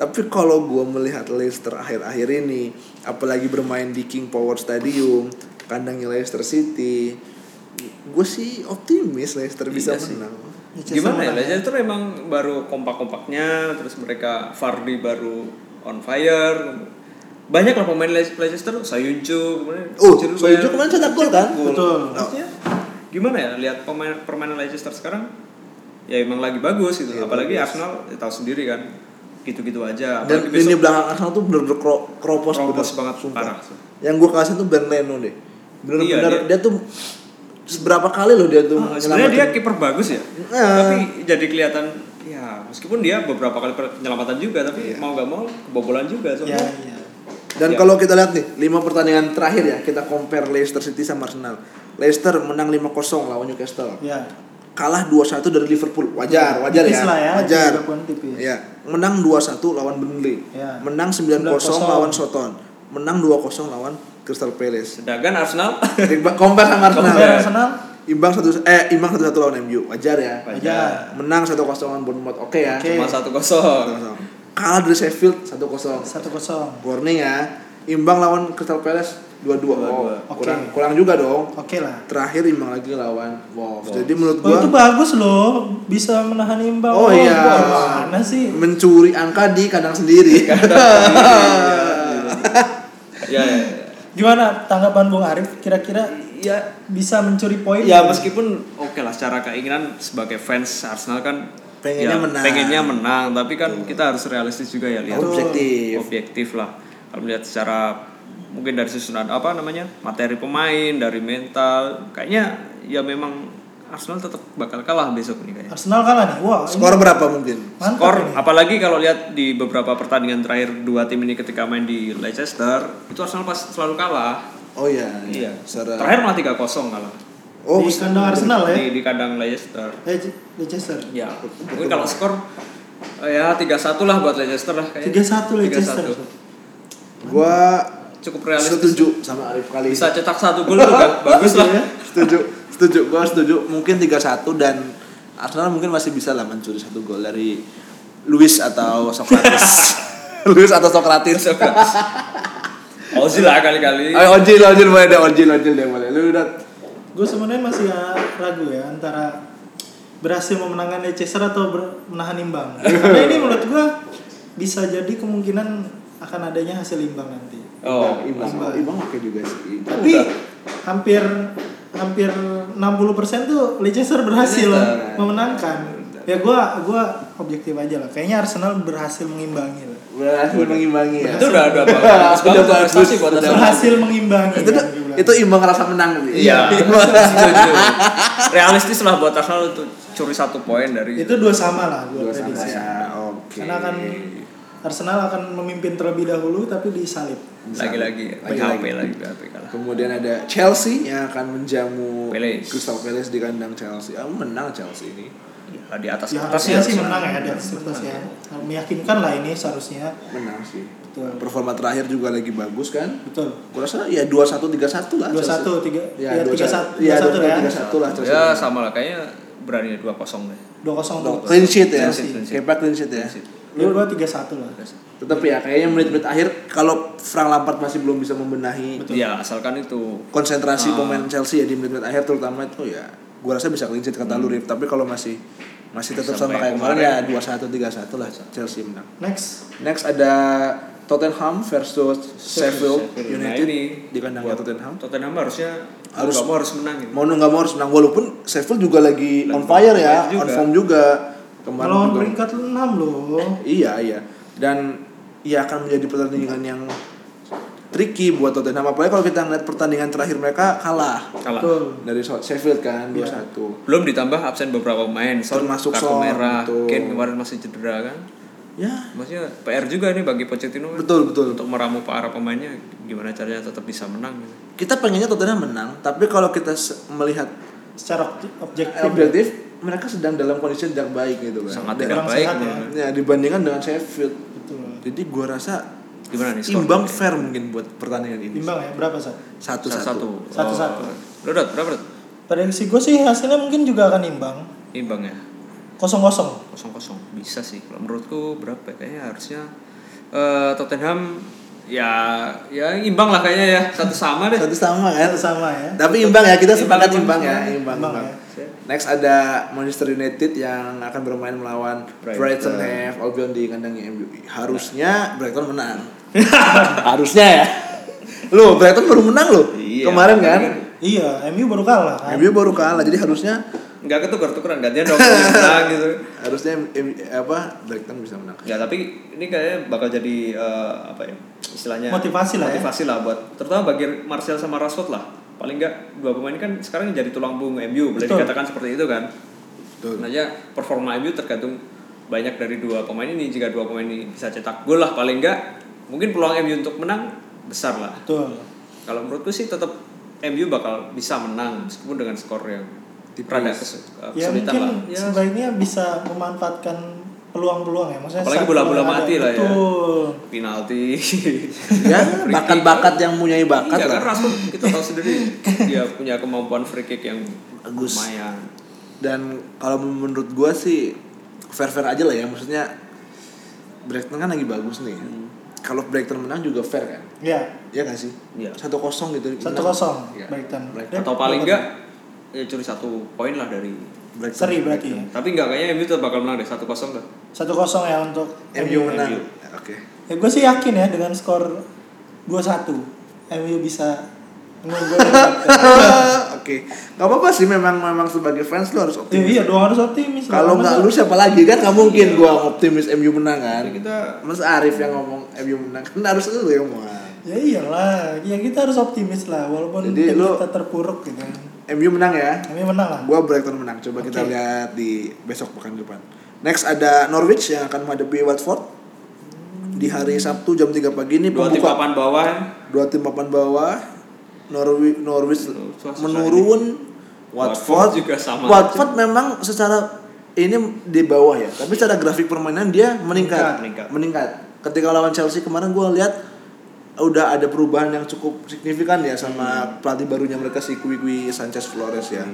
tapi kalau gua melihat Leicester akhir-akhir ini apalagi bermain di King Power Stadium kandangnya Leicester City gue sih optimis Leicester bisa Iya sih. menang Leicester Gimana ya? menang. Leicester memang baru kompak-kompaknya, terus mereka Vardy baru on fire. Banyak lah pemain Le- Leicester, Sayuncu, kemudian Oh, Chilwell. Sayuncu kemarin cetak gol kan? Betul. Maksudnya, gimana ya lihat pemain permainan Leicester sekarang? Ya emang lagi bagus gitu. Iya, Apalagi bagus. Arsenal ya, tahu sendiri kan. Gitu-gitu aja. dan Apalagi lini besok belakang Arsenal tuh bener-bener kro- kropos, Kropos bener, banget, sumpah. parah. yang gue kasihin tuh Ben Leno deh Iya, bener-bener dia. tuh seberapa kali loh dia tuh Ah, sebenarnya dia nyelamatin. kiper bagus ya. Ah. Tapi jadi kelihatan ya meskipun dia beberapa kali penyelamatan juga tapi mau nggak mau kebobolan juga ya soalnya. iya Dan Iya. kalau kita lihat nih, 5 pertandingan terakhir ya, kita compare Leicester City sama Arsenal. Leicester menang 5-0 lawan Newcastle. ya Kalah 2-1 dari Liverpool. Wajar, wajar tipis ya. lah ya Wajar. tiga poin tipis Iya, menang 2-1 lawan Burnley. Iya. Menang 9-0 9-0. lawan Soton. Menang 2-0 lawan Crystal Palace. Sedangkan Arsenal Imbang- compare sama Arsenal. Compare Arsenal Imbang satu eh imbang 1-1 lawan MU. Wajar ya. Wajar. Menang 1-0 lawan Bournemouth. Oke ya. Oke. cuma satu kosong. 1-0. Kalah dari Sheffield 1-0. satu kosong Warning ya. Imbang lawan Crystal Palace 2-2. Oh, 2-2. Oke. kurang kurang juga dong. oke lah Terakhir imbang lagi lawan Wolves. Wolves. Jadi menurut Oh gua itu bagus loh, bisa menahan imbang. Oh, iya. gua Mana sih? mencuri angka di kandang sendiri. <laughs> ya, ya, Gimana tanggapan Bung Arif? Kira-kira ya. bisa mencuri poin? Iya, Ya, meskipun oke lah secara keinginan sebagai fans Arsenal kan Pengennya menang. pengennya menang, tapi kan kita harus realistis juga ya lihat Objektif. objektif lah. Kalau melihat secara mungkin dari susunan apa namanya materi pemain, dari mental, kayaknya ya memang Arsenal tetap bakal kalah besok nih kayaknya. Arsenal kalah nih. Wah, ini Skor berapa mungkin? mantap skor ini. apalagi kalau lihat di beberapa pertandingan terakhir dua tim ini ketika main di Leicester itu Arsenal pas selalu kalah Oh iya. iya Secara- terakhir malah 3-0 kalah Oh, di kandang Arsenal ya. di, di kandang Leicester Eh, Je- Leicester. ya mungkin kalau skor eh, ya 3-1 lah buat Leicester lah kayaknya 3-1 Leicester. gua cukup realistis setuju sama Arif kali. ini. bisa cetak satu gol juga <laughs> bagus lah Iya. setuju. Setuju. Gua setuju. Mungkin 3-1 dan Arsenal mungkin masih bisa lah mencuri satu gol dari Luis atau <laughs> Socrates. Luis atau Socrates. Ozil lah kali-kali Ayo ojil ojil boleh deh ojil ojil deh boleh. Lu udah Gue sebenarnya masih ya, ragu ya antara berhasil memenangkan Leicester atau ber- menahan imbang. Karena ini menurut gue bisa jadi kemungkinan akan adanya hasil imbang nanti. oh imbang imbang. imbang oke juga sih. Tapi hampir hampir 60% tuh Leicester berhasil Leicester. memenangkan. ya gue gua objektif aja lah kayaknya Arsenal berhasil mengimbangi lah berhasil mengimbangi ya. Itu udah <laughs> udah bagus Udah banget bagus. prestasi buat Udah Arsenal. berhasil mengimbangi itu kan, gua bilang. itu imbang rasa menang sih. <laughs> Iya. Setuju. Realistis lah buat Arsenal itu curi satu poin dari itu dua sama lah gue Iya. Dua sama prediksi ya. Oke. karena kan- akan Arsenal akan memimpin terlebih dahulu tapi disalib lagi-lagi Lagi-lagi. PHP lagi PHP kalah. Kemudian ada Chelsea yang akan menjamu Palace. Crystal Palace di kandang Chelsea. Ah, menang Chelsea ini. Ya, di atas ya kertas harusnya sih Arsenal. menang ya ada atas ya meyakinkan lah ini seharusnya Menang sih. Betul. Performa terakhir juga lagi bagus kan? betul Gue rasa ya 2-1 3-1 lah. dua satu tiga Ya, ya tiga 2-1. satu Ya, dua satu 2-1 ya lah Chelsea. Ya sama lah kayaknya berani 2-0 deh. dua kosong Loh, Clean sheet ya. Clean sheet, clean sheet. Kepa clean sheet ya. Clean sheet. lu dua tiga satu lah Tetap ya kayaknya menit-menit akhir kalau Frank Lampard masih belum bisa membenahi Ya asalkan itu konsentrasi Ah. pemain Chelsea ya di menit-menit akhir terutama itu ya gue rasa bisa clean sheet kata lu Rif tapi kalau masih masih tetap sama Hmm. Sampai kayak kemarin ya kemarin. 2-1 3-1 lah Chelsea menang next next ada Tottenham versus Sheffield Nah, United ini di kandangnya Tottenham Tottenham harusnya Harus- harus kamu harus menang gitu. ini. mau nggak mau harus menang walaupun Sheffield juga lagi Lagi on fire ya on on fire juga. form juga kemarin melawan juga- peringkat enam loh iya iya dan ya akan menjadi pertandingan yang tricky buat Tottenham apalagi kalau kita ngeliat pertandingan terakhir mereka kalah Kalah. betul dari Sheffield kan Iya. 2-1 Belum ditambah absen beberapa pemain, Son Termasuk kartu Son, merah, betul. Kane kemarin masih cedera kan. Ya, Maksudnya PR juga nih bagi Pochettino kan. betul betul. untuk meramu para pemainnya gimana caranya tetap bisa menang. gitu. Kita pengennya Tottenham menang, tapi kalau kita se- melihat secara ob- objektif ya. objektif, mereka sedang dalam kondisi yang tidak baik gitu kan. Sangat Dan- tidak kurang baik. sehat ya. menurut gue. Ya, dibandingkan dengan Sheffield. betul Jadi gua rasa Gimana nih skor? imbang fair mungkin buat pertandingan ini. imbang ya berapa sih Satu satu. satu. Satu-satu. Lo Oh. dot berapa Dot? prediksi gue sih hasilnya mungkin juga akan imbang Imbang ya. kosong kosong kosong kosong bisa sih kalau menurutku berapa ya? kayaknya harusnya eh, Tottenham ya ya imbang lah kayaknya ya satu sama deh Satu sama kan? Satu sama ya Tapi imbang ya, kita Imbang, sepakat imbang, imbang ya, imbang. imbang. Imbang imbang. ya. Next ada Manchester United yang akan bermain melawan Brighton Brighton. Nah. Have Albion di kandangnya MU. Harusnya Brighton <laughs> menang. Harusnya ya. Loh, Brighton baru menang loh. Iya, Kemarin kan. iya MU baru kalah kan MU baru kalah. Jadi harusnya nggak ketukar tukaran gantian dong yang menang gitu harusnya M- apa Brighton bisa <laughs> menang. ya tapi ini kayaknya bakal jadi eh, apa ya istilahnya Motivasi lah ya. motivasi lah buat terutama bagi Martial sama Rashford lah paling nggak dua pemain kan sekarang jadi tulang punggung MU boleh Betul. dikatakan seperti itu kan Betul. Sebenarnya performa MU tergantung banyak dari dua pemain ini. Jika dua pemain ini bisa cetak gol lah paling enggak, mungkin peluang MU untuk menang besar lah. betul Kalau menurutku sih tetap MU bakal bisa menang meskipun dengan skor yang Tipis. rada kes- ya kesulitan mungkin lah. Ya, sebaiknya bisa memanfaatkan peluang-peluang ya maksudnya Apalagi saat bola-bola peluang mati ada. lah ya. Betul. penalti. <laughs> Ya, bakat-bakat yang punya bakat iya, lah. kan Rashford kita tahu <laughs> sendiri dia punya kemampuan free kick yang Bagus. lumayan. dan kalau menurut gua sih fair fair aja lah ya maksudnya Brighton kan lagi bagus nih Hmm. kalau Brighton menang juga fair kan ya ya nggak sih Iya. satu kosong gitu satu menang. kosong Iya. Brighton Brighton. Atau paling enggak ya curi satu poin lah dari Brighton. seri berarti ya tapi enggak kayaknya MU tetap bakal menang deh 1-0 tuh. satu kosong ya untuk MU menang MU. oke <laughs> ya gue sih yakin ya dengan skor 2-1 MU bisa mengunggul oke nggak apa apa sih memang memang sebagai fans lu harus ya, optimis iya dong harus optimis lah. kalau nggak Masa- lu siapa lagi kan nggak mungkin gua optimis MU menang kan Jadi kita Mas Arif yang ngomong MU menang kan harus lu yang ngomong ya iyalah ya kita harus optimis lah walaupun Jadi tim lu- kita terpuruk gitu MU menang ya kami menang lah Gua Brighton menang. Coba kita Oke. lihat di besok pekan depan. Next ada Norwich yang akan menghadapi Watford di hari Sabtu jam 3 pagi ini dua tim pembuka papan bawah ya. dua tim papan bawah Norwich Norwich Susah-susah menurun Watford Watford juga sama Watford memang secara ini di bawah ya, tapi secara grafik permainan dia meningkat. Meningkat. Ketika lawan Chelsea kemarin gua lihat udah ada perubahan yang cukup signifikan ya sama Hmm. pelatih barunya mereka si Kui Sanchez Flores ya.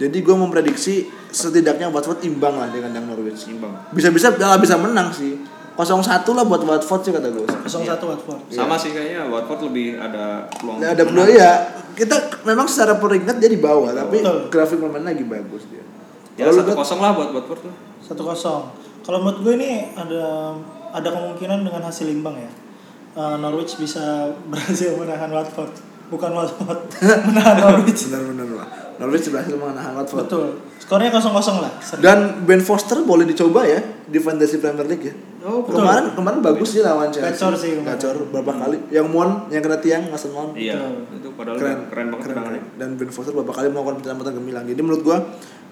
Jadi gua memprediksi setidaknya Watford imbang lah dengan yang Norwich. imbang Bisa-bisa malah bisa menang sih. 0-1 lah buat Watford sih kata gue. 0-1 Watford sama sih kayaknya Watford lebih ada peluang Nah, ada peluang ya. Kita memang secara peringkat dia di bawah, tapi Betul. grafik permainan lagi bagus dia. ya Kalau lu satu lihat- kosong lah buat Watford tuh satu kosong kalau menurut gue ini ada <laughs> ada kemungkinan dengan hasil imbang ya Eh, Norwich bisa berhasil menahan Watford bukan Watford <laughs> menahan <laughs> Norwich Benar-benar lah. Norwich berhasil menahan Watford. betul skornya 0-0 lah Seri. Dan Ben Foster boleh dicoba ya di Fantasy Premier League ya. Oh, betul. kemarin kemarin bagus sih lawan Chelsea. Gacor sih kemarin. Gacor berapa kali? Yang Mon, yang kena tiang, Mason Mon. Iya, Betul. itu padahal Keren, keren, banget keren, tendangannya. keren. Dan Ben Foster beberapa kali melakukan penyelamatan gemilang. Jadi menurut gua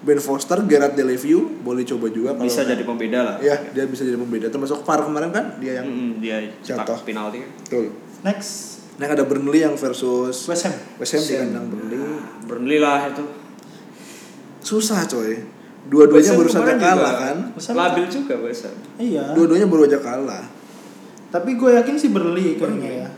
Ben Foster, Gerard Deleveu boleh coba juga kalau Bisa jadi pembeda lah. ya dia bisa jadi pembeda termasuk VAR kemarin kan dia yang Mm-mm, dia cetak Jatuh. penalti kan. betul. next Nah ada Burnley yang versus West Ham West Ham di kandang Burnley. Burnley lah itu. Susah coy. Dua-duanya West Ham baru saja kemarin juga kalah kan. West Ham- Labil juga West Ham. iya Dua-duanya baru aja kalah. tapi gue yakin sih Burnley kayaknya ya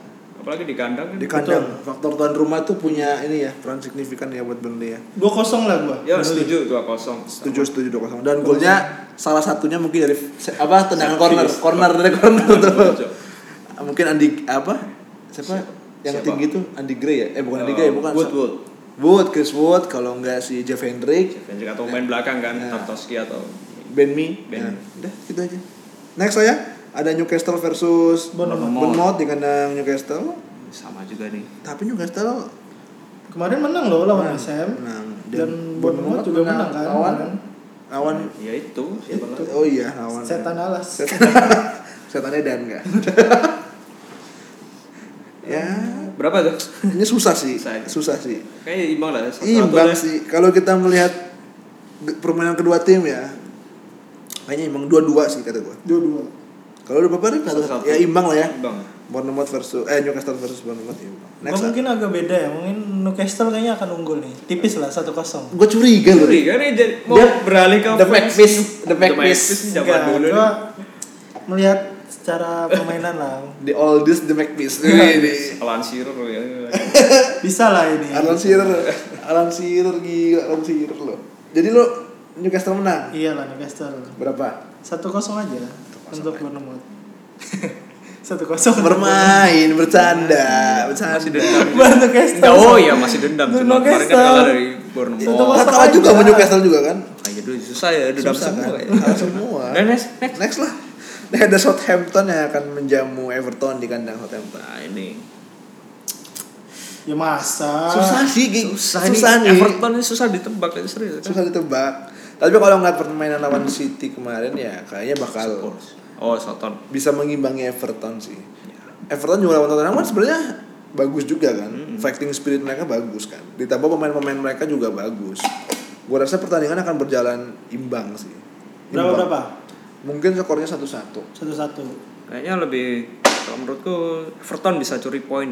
Apalagi di kandang kan. Di kandang faktor tuan rumah tuh punya ini ya peran signifikan ya buat Burnley ya. 2-0 lah gue Ya setuju 2-0. Setuju setuju dua kosong. Dan golnya salah satunya mungkin dari se- apa tendangan corner Servis. corner <laughs> dari corner tuh. Setuju. mungkin Andi apa siapa yang Siapa? tinggi tuh Andy Gray ya eh bukan Oh, Andy Gray bukan Woodwood. Wood Chris Wood kalau enggak si Jeff Hendrick Benjik atau main belakang kan, Nah. Tartowski atau Ben Mi. Ben Ya, Mi. udah gitu aja. Next saya ada Newcastle versus Bournemouth. Bournemouth di kandang Newcastle. sama juga nih. Tapi Newcastle kemarin menang loh lawan West Ham menang Dan Bournemouth juga menang kan Lawan kemarin. lawan Ya itu, siapa lagi? oh iya lawan setan alas setannya dan enggak. <laughs> ya, Berapa tuh? ini susah sih. Susah aja. Susah sih. Kayaknya imbang lah. satu-satu Imbang lah. sih. Kalau kita melihat ge- permainan kedua tim ya kayaknya imbang dua-dua sih kata gua. <laughs> dua-dua Kalau udah bapak Satu-satu. ya imbang lah ya. Imbang. Bournemouth versus eh Newcastle versus Bournemouth imbang. Gua Next. mungkin agak beda ya, mungkin Newcastle kayaknya akan unggul nih. Tipis lah 1-0. Gue curiga loh. Curi kan ini jadi mau Dia- beralih ke the back piece, the back piece. zaman Enggak, dulu. gua melihat secara permainan lah. The oldest the <laughs> Macpies. Ini. Alan Shearer ya. Bisa lah ini. Alan Shearer, Alan Shearer gila, Alan Shearer loh. Jadi lo Newcastle menang. Iya lah Newcastle. Berapa? 1-0 aja lah untuk Bournemouth. <laughs> 1-0. Bermain, bercanda, Masih <laughs> bercanda. dendam. Buat Newcastle. oh iya masih dendam. Cuma kemarin kan Newcastle. kalah dari Itu Bournemouth. Kita masuk kalah juga aja. sama Newcastle juga kan? Kayaknya dulu susah ya dendam Susah kan? semua. ya. Kalah <laughs> semua. Nah, next, next. Next lah. Nah, ada Southampton yang akan menjamu Everton di kandang Southampton. Nah ini Ya masa. Susah sih, Gi. susah, ini. nih. Everton ini susah ditebak ini serius. kan? susah ditebak tapi kalau ngeliat permainan lawan City kemarin ya kayaknya bakal Oh Soton. bisa mengimbangi Everton sih Everton juga lawan Tottenham kan sebenarnya bagus juga kan fighting spirit mereka bagus kan ditambah pemain-pemain mereka juga bagus gue rasa pertandingan akan berjalan imbang sih Berapa Imbang. berapa? mungkin skornya satu satu 1-1. Kayaknya lebih kalau menurutku Everton bisa curi poin.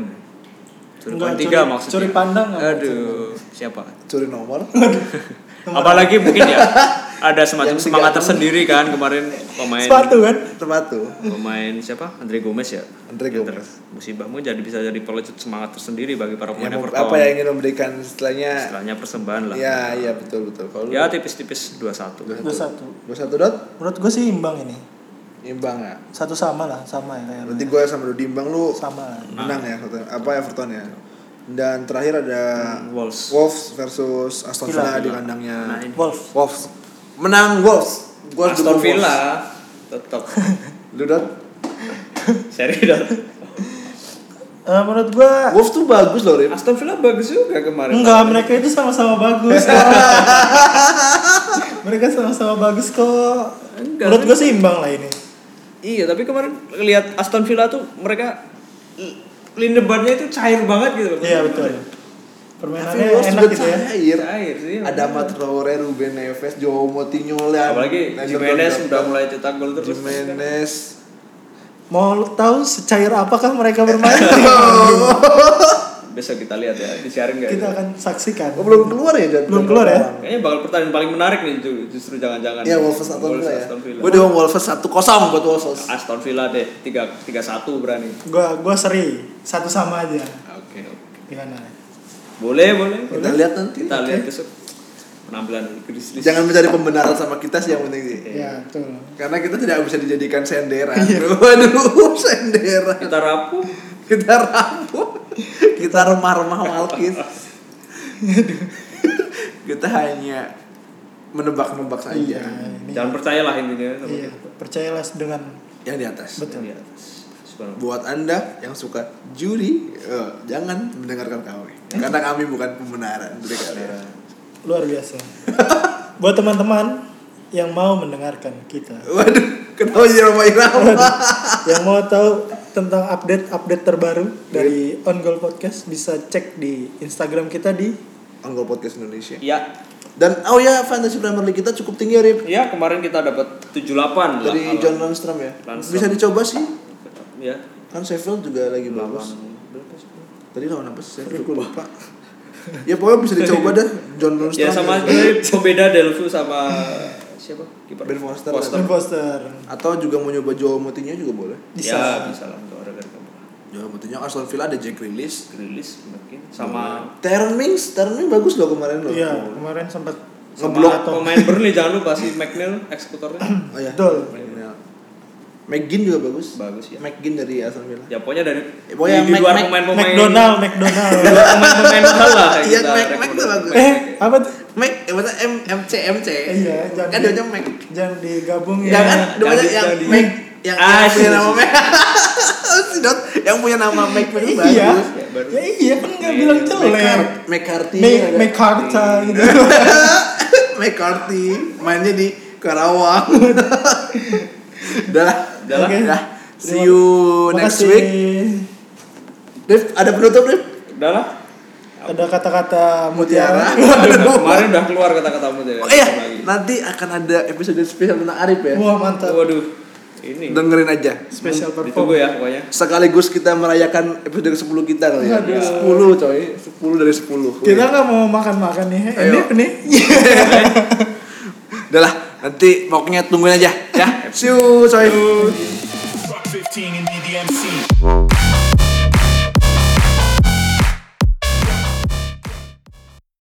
Curi Enggak, poin tiga curi- maksudnya. curi pandang nggak? Aduh, siapa? curi nomor Apalagi mungkin <laughs> ya ada semacam Yang tiga semangat enam. tersendiri kan kemarin pemain Sepatu kan? terpatu pemain siapa? Andre Gomez ya. Andre Ya, ter- Gomez. Musibahmu jadi bisa jadi pelecut semangat tersendiri bagi ya, para pemain mau- Everton. apa yang ingin memberikan setelahnya Istilahnya persembahan lah. ya iya betul betul kalau Ya tipis-tipis 2-1. 2-1. dua satu dot Menurut gue sih imbang ini. imbang ya Satu sama lah, sama ya kayak. Hmm. Berarti gue sama Dodi Imbang lu Sama lah. menang ya Everton- apa Everton ya. Dan terakhir ada Hmm, Wolves. Wolves versus Aston Villa di kandangnya Nah, ini. Wolf. Wolves. Menang Wolves. Gua Aston dukung Wolves. Villa tetap Lu Dot? seri dot. Eh, menurut gua Wolves tuh bagus loh, Rip. Nah. Aston Villa bagus juga kemarin. enggak mereka itu sama-sama bagus kok. mereka sama-sama bagus kok Enggak. menurut gua sih imbang lah ini Iya, tapi kemarin lihat Aston Villa tuh mereka i- Lindebarnya itu cair banget gitu. loh. iya betul Tapi permainannya Wolves enak juga gitu ya cair. Cair sih. Ada Matt Traore, Ruben Neves, Joao Moutinho, Leandro. Apalagi Leandro Jimenez Donnarumma. udah mulai cetak gol terus. Jimenez. mau lu tahu secair apakah mereka bermain Besok kita lihat ya, disiarin nggak? kita ya? akan saksikan Oh, belum keluar ya, Dot? Belum keluar ya? Kayaknya bakal pertandingan paling menarik nih ju- justru jangan-jangan. Iya, Wolves Aston Villa ya. Aston Villa. Gue dukung Wolves 1-0 buat Wolves. Aston Villa deh, tiga tiga satu berani. gua gua seri satu sama aja Oke, oke. gimana Boleh, boleh. Kita lihat nanti. Kita lihat besok penampilan Grizzlies. Jangan mencari pembenaran sama kita sih yang penting sih. ya betul Karena kita tidak bisa dijadikan senderan. <laughs> Waduh, senderan. Kita rapuh. Iya. Kita rapuh. Kita remah-remah Malkis. kita hanya menebak-nebak saja. iya ini Jangan percayalah intinya sama iya kita. percayalah dengan Yang di atas. betul Di atas. banget. Buat Anda yang suka judi, eh, jangan mendengarkan kami. Karena kami bukan pembenaran dari kalian. Luar biasa. <laughs> Buat teman-teman yang mau mendengarkan kita, Waduh, kenapa jadi irama-irama? yang mau tahu tentang update-update terbaru dari On Goal Podcast bisa cek di Instagram kita di Anggol Podcast Indonesia. Iya. Dan oh ya, fantasy Premier League kita cukup tinggi hari Iya, kemarin kita dapat 78 dari lah. John Lundstrom ya. Lundstrom. Bisa dicoba sih. Iya. Kan Sheffield juga lagi bagus. Berapa sih? Tadi lawan apa sih? Sheffield gue lupa. ya pokoknya bisa dicoba deh John Lundstrom. Ya sama aja pembeda Delphu sama siapa? Kiper. Ben Foster. Ben Foster. Atau juga mau nyoba Joao Moutinho juga boleh. Bisa. Ya, bisa lah untuk orang kamu. Joao Moutinho Aston Villa ada Jack Grealish. Grilis mungkin sama Terren Mings, Terren Mings bagus loh kemarin loh. Iya, kemarin sempat sama Iya. Ngeblok. pemain Burnley jangan lupa si McNeil <clears throat> eksekutornya. Oh iya. Betul. Iya. McGinn juga bagus. Bagus ya. McGinn dari Aston Villa. Ya pokoknya dari Ya, pokoknya di, di Mac- luar Mac- pemain-pemain McDonald, McDonald. <laughs> di luar <laughs> pemain-pemain mahal lah. yang Iya, kita Mac- Mac rekomendasi. tuh bagus. eh, apa tuh? Mac, eh maksudnya M MC MC. Iya, jangan. Kan dia Mac. Jangan digabung ya. Jangan, Iya, kan? dia banyak jadi- yang jadi. Mac yang, Ah, yang punya sih, nama sih. Mac. Si Dot yang punya nama <laughs> Mac itu Iya. bagus. Ya, baru. Ya iya kan nggak bilang jelek. Mac- McCarthy. Make ada. <laughs> Iya. make Carta gitu. McCarthy mainnya di Karawang. <laughs> Udah lah. Udah lah. Oke. Udah. See you next week. Dave, ada penutup Dave? Udah <laughs> lah. Ada kata-kata Mutiara. mutiara. <laughs> Waduh. Kemarin udah keluar kata-katamu ya, dari. Oh iya, lagi. nanti akan ada episode spesial tentang Arif ya. Wah mantap. Waduh. Ini Dengerin aja. Special ditunggu perform. ya pokoknya. Sekaligus kita merayakan episode ke-10 kita kali ya. Aduh. 10 coy, 10 dari 10. Kita nggak mau makan-makan nih. Ayo. Ini nih. Udah lah, nanti pokoknya tungguin aja ya. See you coy. Truck 15 and be the MC.